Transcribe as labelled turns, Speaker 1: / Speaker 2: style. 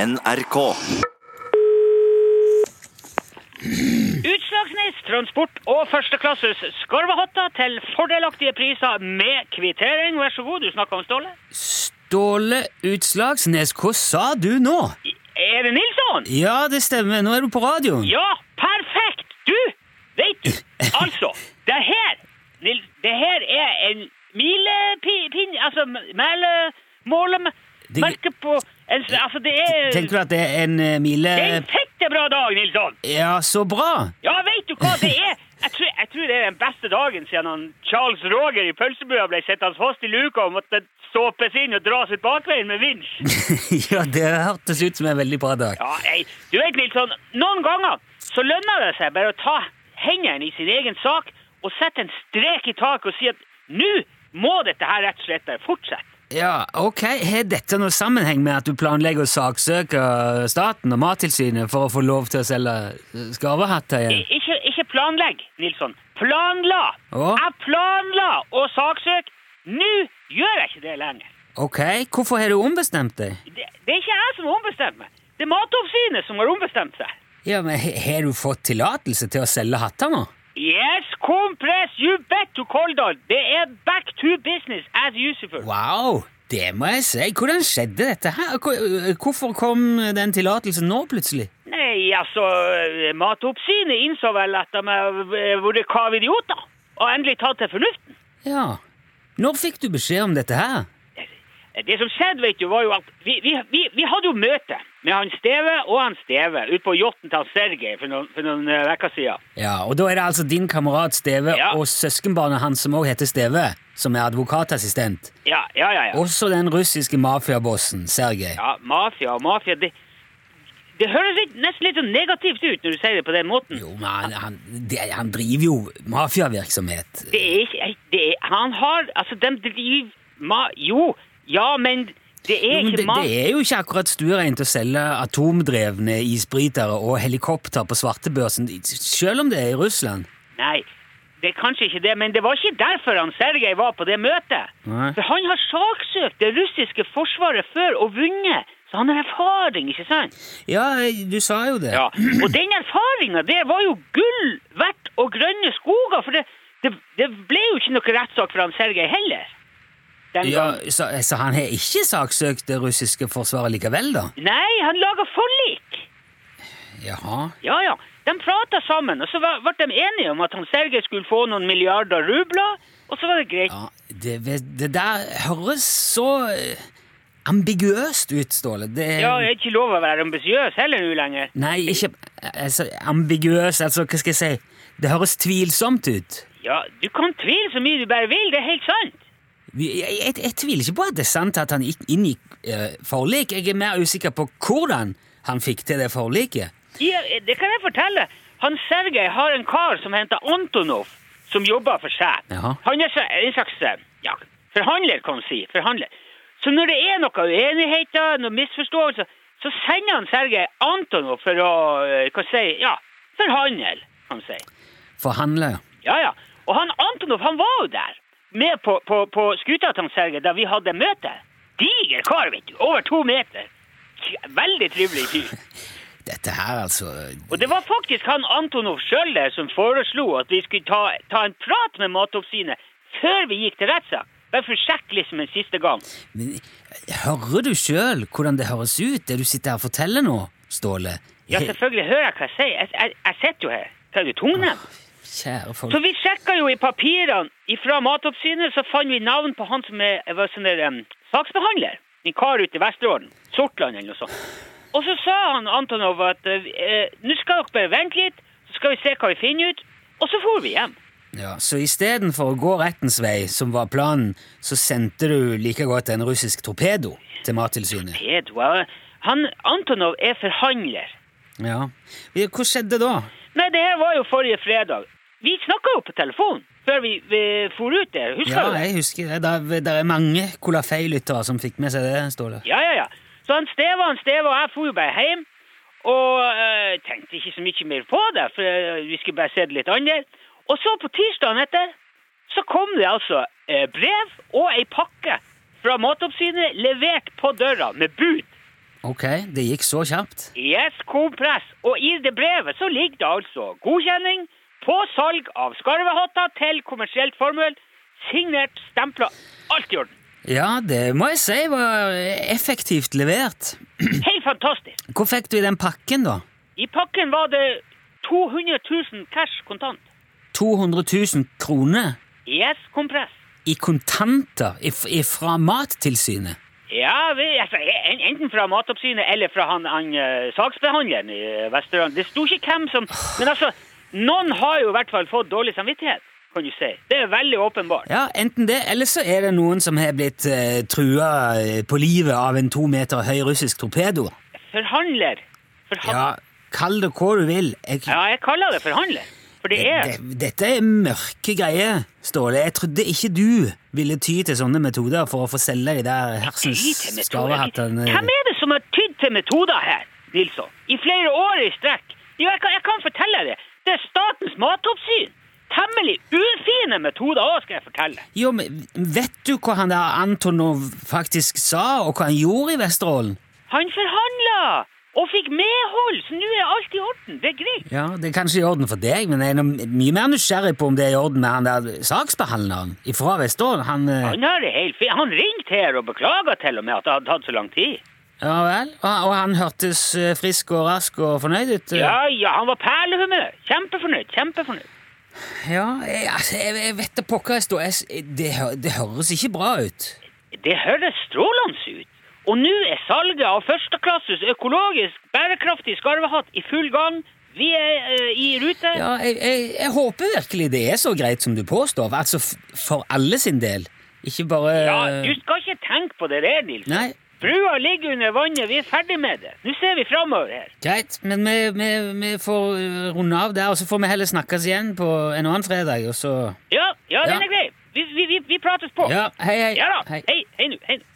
Speaker 1: NRK.
Speaker 2: Utslagsnes transport og førsteklasses skarvehatter til fordelaktige priser med kvittering. Vær så god, du snakker om Ståle.
Speaker 3: Ståle Utslagsnes, hva sa du nå?
Speaker 2: I- Er det Nilsson?
Speaker 3: Ja, det stemmer, nå er du på radioen.
Speaker 2: Ja, perfekt! Du, vet du, altså, det her, Nil- det her er en milepinn, altså mæle, måle,
Speaker 3: Det-
Speaker 2: merke på, en, s- altså det er,
Speaker 3: Tenker du at det er en eh,
Speaker 2: det er
Speaker 3: mile...
Speaker 2: en fette bra dag, Nilsson.
Speaker 3: Ja, så bra!
Speaker 2: Ja, vet du hva det er? Jeg tror, jeg tror det er den beste dagen siden han Charles Roger i pølsebua ble sittende fast i luka og måtte såpes inn og dras ut bakveien med vinsj.
Speaker 3: ja, det hørtes ut som en veldig bra dag.
Speaker 2: Ja, nei, du vet, Nilsson, noen ganger så lønner det seg bare å ta hendene i sin egen sak og sette en strek i taket og si at nå må dette her rett og slett bare fortsette.
Speaker 3: Ja, ok, Har dette noe sammenheng med at du planlegger å saksøke staten og Mattilsynet for å få lov til å selge eh, skarvehatter igjen?
Speaker 2: I- Ikke, ikke planlegg, Nilsson. Planla!
Speaker 3: Å?
Speaker 2: Jeg planla å saksøke. Nå gjør jeg ikke det lenger.
Speaker 3: Ok, Hvorfor har du ombestemt deg?
Speaker 2: Det, det er ikke jeg som har ombestemt meg. Det er Matoppsynet som har ombestemt seg.
Speaker 3: Ja, men he- Har du fått tillatelse til å selge hatter nå?
Speaker 2: Yes, compress, you bet to Koldal. Det er back to business as usual.
Speaker 3: Wow, det må jeg si. Hvordan skjedde dette her? Hvor- øh, Hvorfor kom den tillatelsen nå plutselig?
Speaker 2: Nei, altså, Matoppsynet innså vel at de eh, har vært kavidioter og endelig tatt til fornuften.
Speaker 3: Ja, når fikk du beskjed om dette her?
Speaker 2: Det som skjedde, vet du, var jo at vi, vi, vi, vi hadde jo møte med han Steve og han Steve ute på yachten til han Sergej for noen, for noen eh, vekker siden.
Speaker 3: Ja, og da er det altså din kamerat Steve
Speaker 2: Ja.
Speaker 3: og søskenbarnet hans som også heter Steve, som er advokatassistent.
Speaker 2: Ja, ja, ja. ja.
Speaker 3: Også den russiske mafiabossen, Sergej.
Speaker 2: Ja, mafia og mafia det, det høres litt, nesten litt sånn negativt ut når du sier det på den måten.
Speaker 3: Jo, men han, han, det, han driver jo mafiavirksomhet.
Speaker 2: Det er ikke det er, Han har Altså, de driver ma, Jo, ja, men det er
Speaker 3: Jo, men
Speaker 2: ikke
Speaker 3: det,
Speaker 2: ma...
Speaker 3: det er jo ikke akkurat stuereint å selge atomdrevne isbrytere og helikopter på svartebørsen, selv om det er i Russland.
Speaker 2: Nei, det er kanskje ikke det, men det var ikke derfor han Sergej var på det møtet.
Speaker 3: Nei.
Speaker 2: For han har saksøkt det russiske forsvaret før og vunnet, så han har erfaring, ikke sant?
Speaker 3: Ja, du sa jo det.
Speaker 2: Ja, og den erfaringa, det var jo gull verdt og grønne skoger, for det, det, det ble jo ikke noe rettssak for han Sergej heller. Den
Speaker 3: Ja,
Speaker 2: gang.
Speaker 3: så, så han har ikke saksøkt det russiske forsvaret likevel, da?
Speaker 2: Nei, han laga forlik!
Speaker 3: Jaha.
Speaker 2: Ja, ja. De prata sammen, og så var- ble de enige om at han Sergej skulle få noen milliarder rubler, og så var det greit.
Speaker 3: Ja, det, det der høres så eh, ambiguøst ut, Ståle. Det,
Speaker 2: Ja, jeg er ikke lov å være ambisiøs heller nå lenger.
Speaker 3: Nei, ikke altså, ambiguøst, altså, hva skal jeg si? Det høres tvilsomt ut.
Speaker 2: Ja, du kan tvile så mye du bare vil, det er helt sant.
Speaker 3: Jeg, jeg, jeg tviler ikke på at det er sant at han gikk inngikk eh, forlik. Jeg er mer usikker på hvordan han fikk til det forliket.
Speaker 2: Ja, det kan jeg fortelle. Han Sergej har en kar som heter Antonov, som jobber for seg.
Speaker 3: Jaha.
Speaker 2: Han er så- en slags eh, ja, forhandler, kan man si. Forhandler. Så når det er noe uenigheter, noen misforståelser, så sender han Sergej Antonov for å eh, hva si, ja, forhandle, kan man si.
Speaker 3: Forhandler.
Speaker 2: Ja, ja. Og han Antonov, han var jo der, med på, på, på skuta til han Sergej, da vi hadde møte. Diger kar, vet du. Over to meter. Tj- Veldig trivelig fyr.
Speaker 3: Dette her, altså
Speaker 2: Og det var faktisk han Antonov sjøl der som foreslo at vi skulle ta, ta en prat med Matoppsynet før vi gikk til rettssak. Bare for å sjekke liksom en siste gang.
Speaker 3: Men, hører du sjøl hvordan det høres ut, det du sitter her og forteller nå, Ståle?
Speaker 2: Ja,
Speaker 3: He-
Speaker 2: selvfølgelig hører jeg hva jeg sier. Jeg, jeg, jeg sitter jo her. Tar du tungnem?
Speaker 3: Kjære folk.
Speaker 2: Så vi sjekka jo i papirene ifra Matoppsynet, så fant vi navn på han som er, var sånn der em, saksbehandler. En kar ute i Vesterålen. Sortland eller noe sånt. Og så sa han Antonov at eh, eh, nå skal dere bare vente litt, så skal vi se hva vi finner ut. Og så for vi hjem.
Speaker 3: Ja, så istedenfor å gå rettens vei, som var planen, så sendte du like godt en russisk torpedo til Mattilsynet?
Speaker 2: Pedo. ja. Han, Antonov er forhandler.
Speaker 3: Ja. Hva skjedde da?
Speaker 2: Nei, det her var jo forrige fredag. Vi snakka jo på telefon før vi, vi for ut der. Husker
Speaker 3: Ja,
Speaker 2: du det?
Speaker 3: jeg husker det. Det er- Det er mange Colafei-lyttere som fikk med seg det, Ståle.
Speaker 2: Ja, ja, ja. Så han Steva han Steva og jeg for jo bare hjem. Og eh, tenkte ikke så mye mer på det, for eh, vi skulle bare se det litt annerledes. Og så på tirsdagen etter så kom det altså eh, brev og ei pakke fra Matoppsynet levert på døra med bud.
Speaker 3: Ok, det gikk så kjapt.
Speaker 2: Yes, kompress. E Og i det brevet så ligger det altså godkjenning på salg av skarvehatter til kommersielt formål, signert, stempla, alt i orden.
Speaker 3: Ja, det må jeg si var effektivt levert.
Speaker 2: Helt fantastisk.
Speaker 3: Hvor fikk du i den pakken, da?
Speaker 2: I pakken var det 200 000 cash kontant. E
Speaker 3: 200 000 kroner
Speaker 2: Yes, kompress.
Speaker 3: i kontanter if fra Mattilsynet?
Speaker 2: Ja, vi, altså, en- enten fra Matoppsynet eller fra han, han eh, saksbehandleren i eh, Vesterålen. Det sto ikke hvem som Men altså, noen har jo i hvert fall fått dårlig samvittighet, kan du si. Det er veldig åpenbart.
Speaker 3: Ja, enten det, eller så er det noen som har blitt eh, trua eh, på livet av en to meter høy russisk torpedo.
Speaker 2: Forhandler. Forhandler.
Speaker 3: Ja, kall det hva du vil. Jeg,
Speaker 2: Ja, jeg kaller det forhandler. For det er
Speaker 3: det, dette er mørke greier, Ståle. Jeg trodde ikke du ville ty til sånne metoder for å få selge de der hersens
Speaker 2: Lite metoder.
Speaker 3: skarvehattene.
Speaker 2: Hvem er det som har tydd til metoder her, Nilsson? I flere år i strekk. Jo, jeg kan, jeg kan fortelle det. Det er Statens matoppsyn. Temmelig ufine metoder òg, skal jeg fortelle.
Speaker 3: Jo, men vet du hva han der Antonov faktisk sa, og hva han gjorde i Vesterålen?
Speaker 2: Han forhandla og fikk medhold, så nå er alt i orden. Det er greit.
Speaker 3: Ja, Det er kanskje i orden for deg, men jeg er nå mye mer nysgjerrig på om det er i orden med han der saksbehandleren fra Vesterålen. Han, eh,
Speaker 2: Han har det helt fint. Han ringte her og beklaga til og med at det hadde tatt så lang tid.
Speaker 3: ja vel, og, og han hørtes eh, frisk og rask og fornøyd ut? eh.
Speaker 2: Ja, ja, han var perlehumør. Kjempefornøyd. Kjempefornøyd.
Speaker 3: ja jeg, altså, jeg, jeg vet da pokker jeg står jeg, s- det, hø- det høres ikke bra ut.
Speaker 2: Det høres strålende ut. Og nå er salget av førsteklasses økologisk bærekraftig skarvehatt i full gang. Vi er eh, i rute.
Speaker 3: Ja, jeg, jeg, jeg håper virkelig det er så greit som du påstår, altså f for alle sin del. Ikke bare
Speaker 2: Ja, du skal ikke tenke på det der, Nils.
Speaker 3: Nei,
Speaker 2: Brua ligger under vannet, vi er ferdig med det. Nå ser vi framover her.
Speaker 3: Greit, men vi, vi, vi får eh, runde av der, og så får vi heller snakkes igjen på en annen fredag, og så
Speaker 2: Ja, ja, den
Speaker 3: Ja.
Speaker 2: er grei. Vi, vi, vi, vi prates på.
Speaker 3: Ja, hei, hei.
Speaker 2: Ja da.
Speaker 3: Hei.
Speaker 2: Hei, hei nå. Hei nå.